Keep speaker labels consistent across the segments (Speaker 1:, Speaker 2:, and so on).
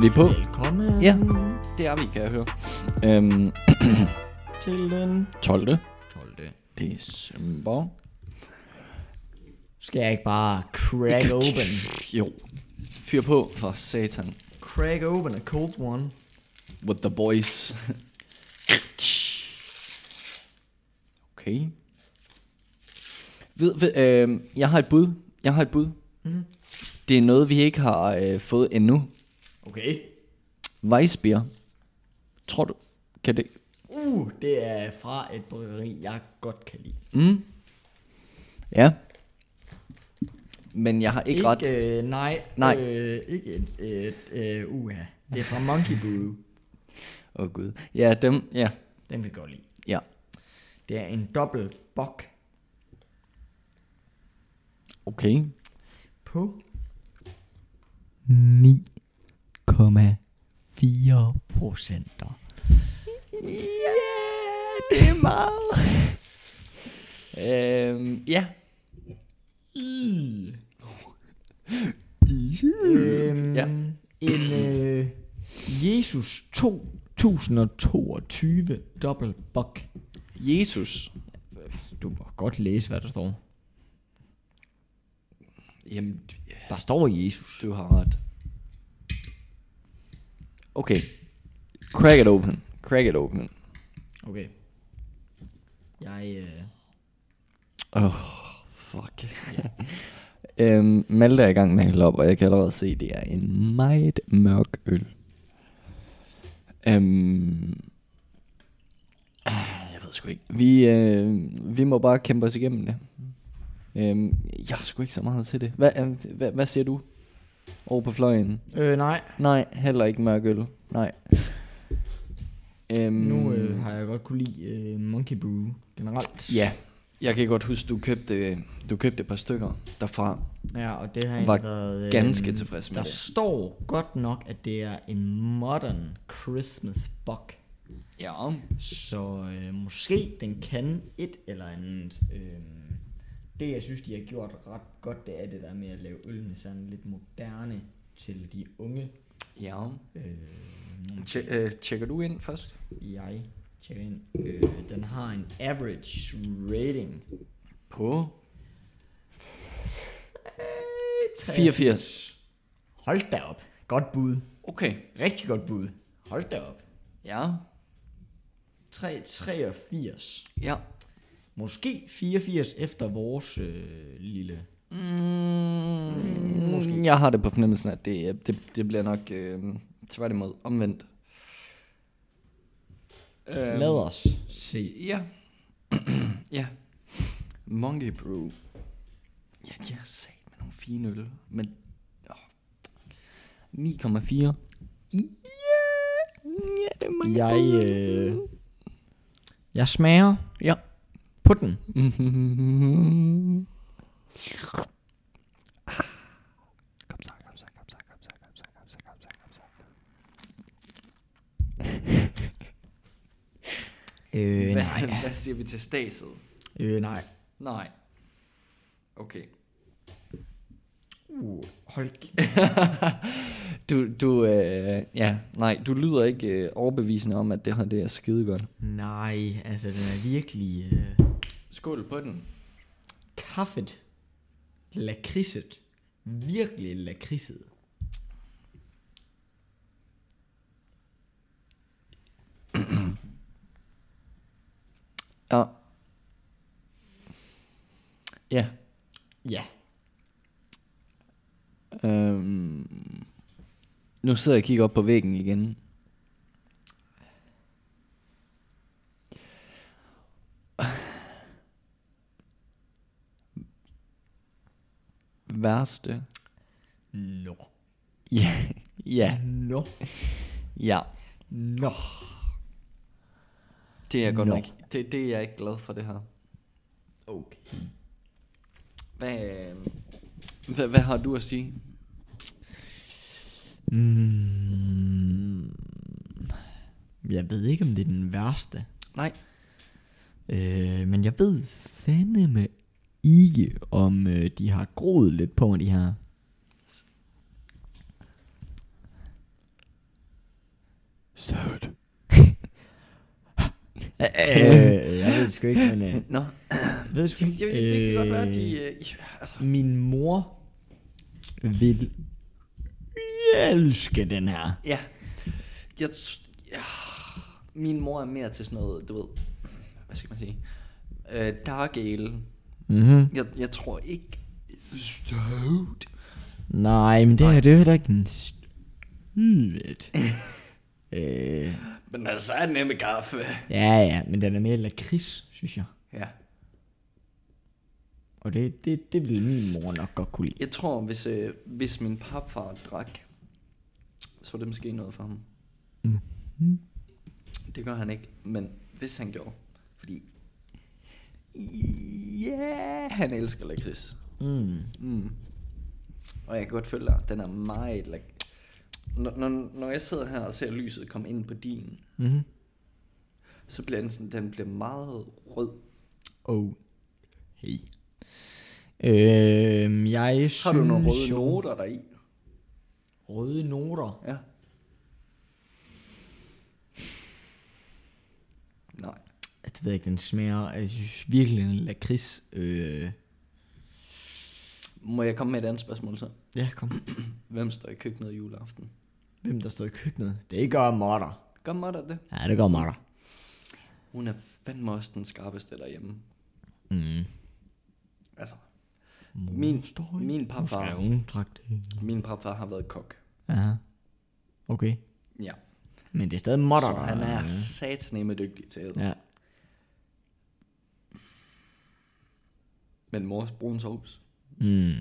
Speaker 1: Vi er på.
Speaker 2: Velkommen
Speaker 1: Ja. Det er vi, kan jeg høre. Øhm,
Speaker 2: til den
Speaker 1: 12.
Speaker 2: 12.
Speaker 1: december.
Speaker 2: Skal jeg ikke bare crack open?
Speaker 1: Jo. Fyr på for satan.
Speaker 2: Crack open a cold one.
Speaker 1: With the boys. Okay. Ved, ved, øh, jeg har et bud. Jeg har et bud.
Speaker 2: Mhm.
Speaker 1: Det er noget, vi ikke har øh, fået endnu.
Speaker 2: Okay.
Speaker 1: Weissbier. Tror du? Kan det?
Speaker 2: Uh, det er fra et bryggeri, jeg godt kan lide.
Speaker 1: Mm. Ja. Men jeg har ikke,
Speaker 2: Ikke,
Speaker 1: ikke ret.
Speaker 2: Øh, nej,
Speaker 1: Nej.
Speaker 2: Øh, ikke et, et øh, uha. Det er fra Monkey Brew.
Speaker 1: Åh oh, gud. Ja, dem. Ja.
Speaker 2: Den vil jeg godt lide.
Speaker 1: Ja.
Speaker 2: Det er en dobbelt bok
Speaker 1: Okay.
Speaker 2: på 9,4 procenter.
Speaker 1: Ja, det er meget. øhm, ja.
Speaker 2: Øhm,
Speaker 1: Ja.
Speaker 2: En øh, Jesus 2022 dobbelt bok.
Speaker 1: Jesus.
Speaker 2: Du må godt læse, hvad der står.
Speaker 1: Jamen, d- ja,
Speaker 2: Der står Jesus.
Speaker 1: du har ret. Okay. Crack it open. Crack it open.
Speaker 2: Okay. Jeg, øh,
Speaker 1: Åh, oh, fuck. øhm, Malte er i gang med at hælde op, og jeg kan allerede se, det er en meget mørk øl. Øhm, ah, jeg ved sgu ikke. Vi, øh, vi må bare kæmpe os igennem det. Øhm, jeg har sgu ikke så meget til det. Hvad, øh, hvad, hvad siger du? Over på fløjen?
Speaker 2: øh nej.
Speaker 1: Nej, heller ikke mørk øl. Nej. Øhm,
Speaker 2: Nu øh, har jeg godt kunne lide øh, Monkey Brew generelt.
Speaker 1: Ja, jeg kan godt huske, du købte, du købte et par stykker derfra.
Speaker 2: Ja, og det har jeg
Speaker 1: Var
Speaker 2: egentlig været... øhm,
Speaker 1: ganske tilfreds med
Speaker 2: Der
Speaker 1: det.
Speaker 2: står godt nok, at det er en modern Christmas buck.
Speaker 1: Ja.
Speaker 2: Så øh, måske den kan et eller andet. Øh, det jeg synes, de har gjort ret godt, det er det der med at lave ølene sådan lidt moderne til de unge.
Speaker 1: Ja.
Speaker 2: Øh,
Speaker 1: Tje- øh, tjekker du ind først?
Speaker 2: jeg tjekker ind. Øh, den har en average rating.
Speaker 1: På?
Speaker 2: 83. Hold da op. Godt bud.
Speaker 1: Okay.
Speaker 2: Rigtig godt bud. Hold da op.
Speaker 1: Ja.
Speaker 2: 3, 83.
Speaker 1: Ja.
Speaker 2: Måske 84 efter vores øh, lille...
Speaker 1: Mm, måske. Jeg har det på fornemmelsen, at det, øh, det, det bliver nok øh, tværtimod omvendt.
Speaker 2: Øhm.
Speaker 1: Øh,
Speaker 2: Lad os se.
Speaker 1: ja. ja. Monkey Brew. Ja, de har sat med nogle fine øl. Men... åh, fuck. 9,4. Ja. Ja, det er mange
Speaker 2: Jeg, øh, jeg smager
Speaker 1: Ja.
Speaker 2: på den.
Speaker 1: Mhm. Kom så, kom så, kom så, kom så, kom så, kom så, kom så, kom så.
Speaker 2: Øh,
Speaker 1: Hvad, hvad siger vi til staset?
Speaker 2: Øh, nej.
Speaker 1: Nej. Okay.
Speaker 2: Uh, hold
Speaker 1: Du, du, øh, ja, nej, du lyder ikke øh, overbevisende om, at det her det er skide godt.
Speaker 2: Nej, altså den er virkelig øh,
Speaker 1: Skål på den.
Speaker 2: kaffet. Lakridset. Virkelig lakridset.
Speaker 1: Ja. Ja.
Speaker 2: Ja.
Speaker 1: Øhm, nu sidder jeg og kigger op på væggen igen. Værste.
Speaker 2: Nå.
Speaker 1: Ja, ja,
Speaker 2: Nå.
Speaker 1: ja.
Speaker 2: Nå.
Speaker 1: Det er jeg godt
Speaker 2: Nå.
Speaker 1: nok. Det, det er jeg ikke glad for det her.
Speaker 2: Okay.
Speaker 1: Hvad, øh, hvad, hvad har du at sige?
Speaker 2: Mm. Jeg ved ikke, om det er den værste.
Speaker 1: Nej.
Speaker 2: Øh, men jeg ved fandeme ikke, om øh, de har groet lidt på de her.
Speaker 1: Støvt.
Speaker 2: øh, jeg ved sgu ikke, men... Øh,
Speaker 1: Nå,
Speaker 2: ved sgu
Speaker 1: det,
Speaker 2: ikke.
Speaker 1: det, det kan godt være, at de...
Speaker 2: Øh,
Speaker 1: Øh, altså,
Speaker 2: Min mor vil elske den her.
Speaker 1: ja. Jeg, s- ja. Min mor er mere til sådan noget, du ved... Hvad skal man sige? Øh, dark ale.
Speaker 2: Mm-hmm.
Speaker 1: Jeg, jeg tror ikke... øh, Støvt.
Speaker 2: Nej, men det her, det er jo heller ikke en skidt. øh,
Speaker 1: Men altså, er den nemme kaffe.
Speaker 2: ja, ja, men den er mere lakrids, synes jeg.
Speaker 1: Ja.
Speaker 2: Og det, det, det ville min mor nok godt kunne lide.
Speaker 1: Jeg tror, hvis, øh, hvis min papfar drak, så var det måske noget for ham. Mm. Det gør han ikke, men hvis han gjorde, fordi ja, yeah, han elsker lakrids.
Speaker 2: Mm.
Speaker 1: Mm. Og jeg kan godt følge dig, den er meget lak... Når, når, når jeg sidder her og ser lyset komme ind på din,
Speaker 2: Mm-hmm.
Speaker 1: så bliver den, sådan, den bliver meget rød.
Speaker 2: Oh. Hey. Øh, jeg
Speaker 1: Har du nogle
Speaker 2: synes
Speaker 1: røde
Speaker 2: jo-
Speaker 1: noter deri?
Speaker 2: Røde noter?
Speaker 1: Ja. Nej.
Speaker 2: Det ved jeg ikke, den smager. Jeg synes virkelig, den er lakrids. Øh,
Speaker 1: Må jeg komme med et andet spørgsmål så?
Speaker 2: ja, kom.
Speaker 1: Hvem står i køkkenet juleaften?
Speaker 2: Hvem der står i køkkenet? Det gør morter.
Speaker 1: Gør Motter det?
Speaker 2: Ja, det gør morter.
Speaker 1: Hun er fandme også den skarpeste derhjemme.
Speaker 2: Mm.
Speaker 1: Altså, min, min, papfar,
Speaker 2: hun dragt.
Speaker 1: min papfar har været kok.
Speaker 2: Ja. Okay.
Speaker 1: Ja.
Speaker 2: Men det er stadig modder.
Speaker 1: Så han er sataneme dygtig til det.
Speaker 2: Ja.
Speaker 1: Men mors brun sovs,
Speaker 2: Mm.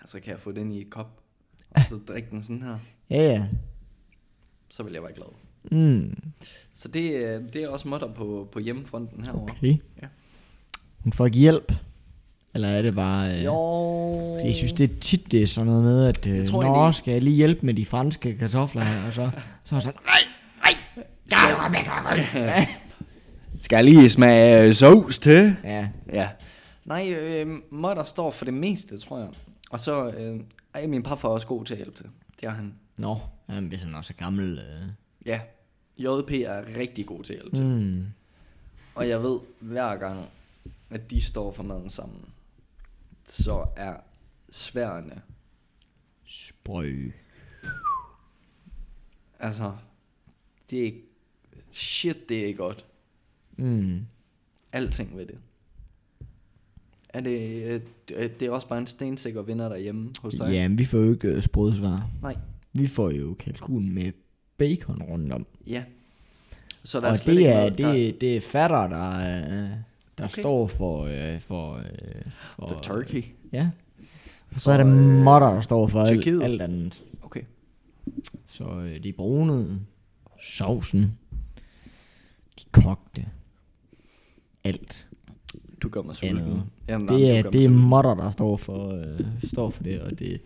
Speaker 1: altså kan jeg få den i et kop, og så drikke den sådan her,
Speaker 2: Ja, ja.
Speaker 1: så vil jeg være glad.
Speaker 2: Mm.
Speaker 1: Så det, er- det er også modder på, på hjemmefronten herovre.
Speaker 2: Okay.
Speaker 1: Ja.
Speaker 2: Hun får ikke hjælp. Eller er det bare... Øh,
Speaker 1: Jo.
Speaker 2: fordi Jeg synes, det er tit, det er sådan noget med, at øh,
Speaker 1: Jeg
Speaker 2: jeg
Speaker 1: tror
Speaker 2: tror, Nå,
Speaker 1: egentlig-
Speaker 2: skal jeg lige hjælpe med de franske kartofler her, og så, så er jeg sådan, nej, nej,
Speaker 1: Skal jeg lige smage øh, sovs til?
Speaker 2: Ja,
Speaker 1: Ja. Nej, øh, Mutter står for det meste, tror jeg. Og så, øh, ej, min papfar er også god til at hjælpe til. Det er han.
Speaker 2: nå, jamen, hvis han også er gammel. Øh.
Speaker 1: Ja. JP er rigtig god til at hjælpe til.
Speaker 2: Mm.
Speaker 1: Og jeg ved hver gang, at de står for maden sammen, så er sværene,
Speaker 2: Sprøg.
Speaker 1: altså, det er ikke, shit, det er godt.
Speaker 2: Mm.
Speaker 1: Alting ved det. Er det, øh, det det er også bare en stensikker vinder derhjemme hos dig?
Speaker 2: Ja, men vi får jo ikke øh, sprødsvar.
Speaker 1: Nej,
Speaker 2: Vi får jo kalkun med bacon rundt om.
Speaker 1: ja. Så der
Speaker 2: Og
Speaker 1: er slet
Speaker 2: det
Speaker 1: ikke
Speaker 2: er,
Speaker 1: noget, der-
Speaker 2: det, det er fatter, der, øh, der
Speaker 1: Okay.
Speaker 2: okay. står for... Øh, for, øh, for
Speaker 1: The turkey.
Speaker 2: Ja. Og øh, så er det modder, der står for alt,
Speaker 1: Tyrkiet.
Speaker 2: alt andet.
Speaker 1: Okay.
Speaker 2: Så øh, de brune, sovsen, de kogte, alt
Speaker 1: Du gør mig sulten.
Speaker 2: andet.
Speaker 1: Jamen, nej,
Speaker 2: det
Speaker 1: men
Speaker 2: er,
Speaker 1: du gør mig
Speaker 2: det er
Speaker 1: sulten.
Speaker 2: modder, der står for, øh, står for det, og det,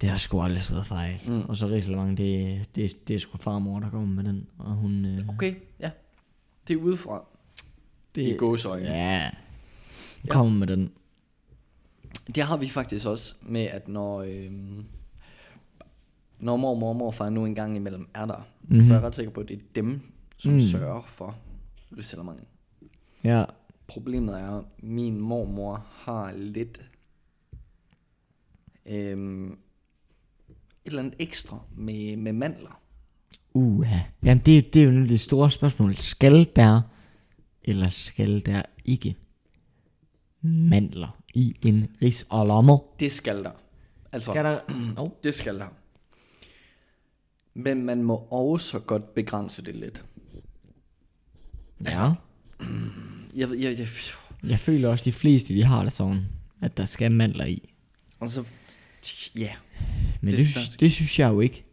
Speaker 2: det har sgu aldrig slået fejl. Mm. Og så risalemang, det, det, det er sgu farmor, der kommer med den, og hun... Øh,
Speaker 1: Okay, ja. Det er udefra. Det... I gåsøjne. Ja.
Speaker 2: Ja, hun kommer med den.
Speaker 1: Det har vi faktisk også med, at når... Øhm, når mormor og morfar nu engang imellem er der, mm-hmm.
Speaker 2: Mhm.
Speaker 1: så er jeg ret sikker på, at det er dem, som mm. sørger for risalemanden.
Speaker 2: Ja,
Speaker 1: Problemet er, at min mormor har lidt øhm, et eller andet ekstra med, med mandler.
Speaker 2: uha. Jamen, det, er- det er jo nu det store spørgsmål. Skal der, eller skal der ikke mandler i en ris og lommer?
Speaker 1: Det skal der. Altså,
Speaker 2: Skal der... Oh.
Speaker 1: Det skal der. Men man må også godt begrænse det lidt.
Speaker 2: Ja.
Speaker 1: Jeg, ved- jeg, jeg,
Speaker 2: Jeg føler også, de fleste, de har det sådan, at der skal mandler i.
Speaker 1: og så, ja,
Speaker 2: Men det,
Speaker 1: Det- der
Speaker 2: det,
Speaker 1: skal-
Speaker 2: det synes jeg jo ikke.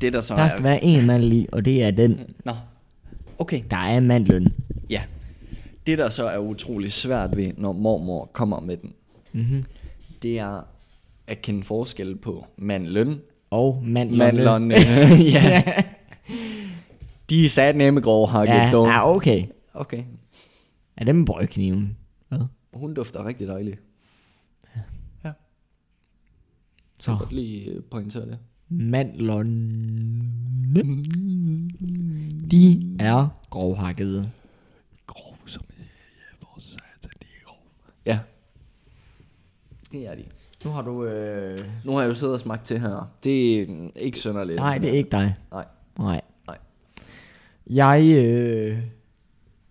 Speaker 1: det der så
Speaker 2: Der skal
Speaker 1: er...
Speaker 2: være en mandel i, og det er den,
Speaker 1: Nå, okay,
Speaker 2: der er mandlen.
Speaker 1: ja. Det der så er utrolig svært ved, når mormor kommer med den,
Speaker 2: Mm-hmm.
Speaker 1: det er at kende forskel på mandløn,
Speaker 2: Og mandlerne.
Speaker 1: mandlerne, ja. De er sat nemme grove hakket,
Speaker 2: Ja,
Speaker 1: dog.
Speaker 2: ja, okay.
Speaker 1: Okay,
Speaker 2: Er det med brødkniven? Hvad?
Speaker 1: hun dufter rigtig dejlig. Ja,
Speaker 2: Så
Speaker 1: godt lige øh, pointere det.
Speaker 2: mandlerne. De er grovhakkede.
Speaker 1: Ja. Det er de.
Speaker 2: Nu har du... Øh...
Speaker 1: Nu har jeg jo siddet og smagt til her. Det er mm, ikke sønderligt.
Speaker 2: Nej, det er ikke dig.
Speaker 1: Nej.
Speaker 2: Nej.
Speaker 1: Nej.
Speaker 2: Jeg øh,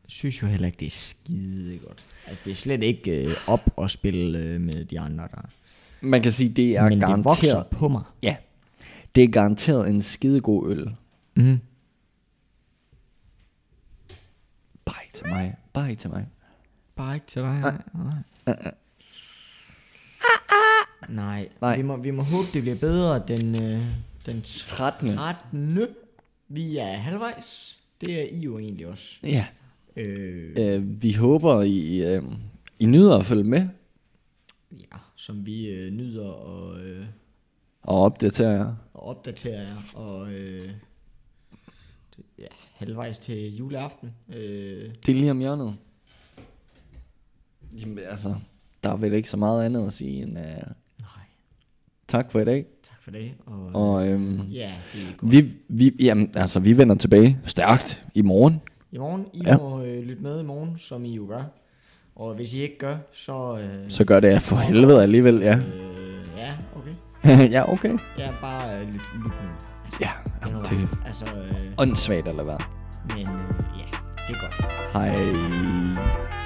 Speaker 2: synes jo heller ikke, det er skide godt. Altså, det er slet ikke øh, op at spille øh, med de andre, der...
Speaker 1: Man kan sige, det er
Speaker 2: Men det vokser
Speaker 1: garanteret.
Speaker 2: på mig.
Speaker 1: ja. Det er garanteret en skidegod øl.
Speaker 2: Mm.
Speaker 1: Bare ikke til mig. Bare ikke til mig.
Speaker 2: Bare ikke til dig. Nej. Nej. Ah, Nej.
Speaker 1: Nej.
Speaker 2: Vi, må, vi må håbe, det bliver bedre den, øh, den
Speaker 1: 13.
Speaker 2: 13. Vi er halvvejs. Det er I jo egentlig også.
Speaker 1: Ja.
Speaker 2: Øh,
Speaker 1: Øh, vi håber, I, øh, I nyder at følge med
Speaker 2: ja, som vi øh, nyder og, øh,
Speaker 1: og opdatere jer.
Speaker 2: og opdaterer jer. Og øh, det- ja, halvvejs til juleaften. Øh,
Speaker 1: Det er lige om hjørnet. Jamen altså, der er vel ikke så meget andet at sige end uh,
Speaker 2: nej,
Speaker 1: tak for i dag.
Speaker 2: tak for det. Og,
Speaker 1: Og øhm,
Speaker 2: ja, det er godt.
Speaker 1: vi, vi, jamen, altså, vi vender tilbage stærkt i morgen.
Speaker 2: I morgen, I
Speaker 1: Ja.
Speaker 2: ja. må øh, lytte med i morgen, som I jo gør. Og hvis I ikke gør, så... Øh,
Speaker 1: Så gør det for helvede alligevel, ja.
Speaker 2: øh, ja, okay.
Speaker 1: ja, okay.
Speaker 2: Ja, bare øh, lyt, lyt nu.
Speaker 1: Ja, jamen, det er
Speaker 2: Altså, øh,
Speaker 1: åndssvagt at lade være.
Speaker 2: men øh, ja, det er godt.
Speaker 1: Hej.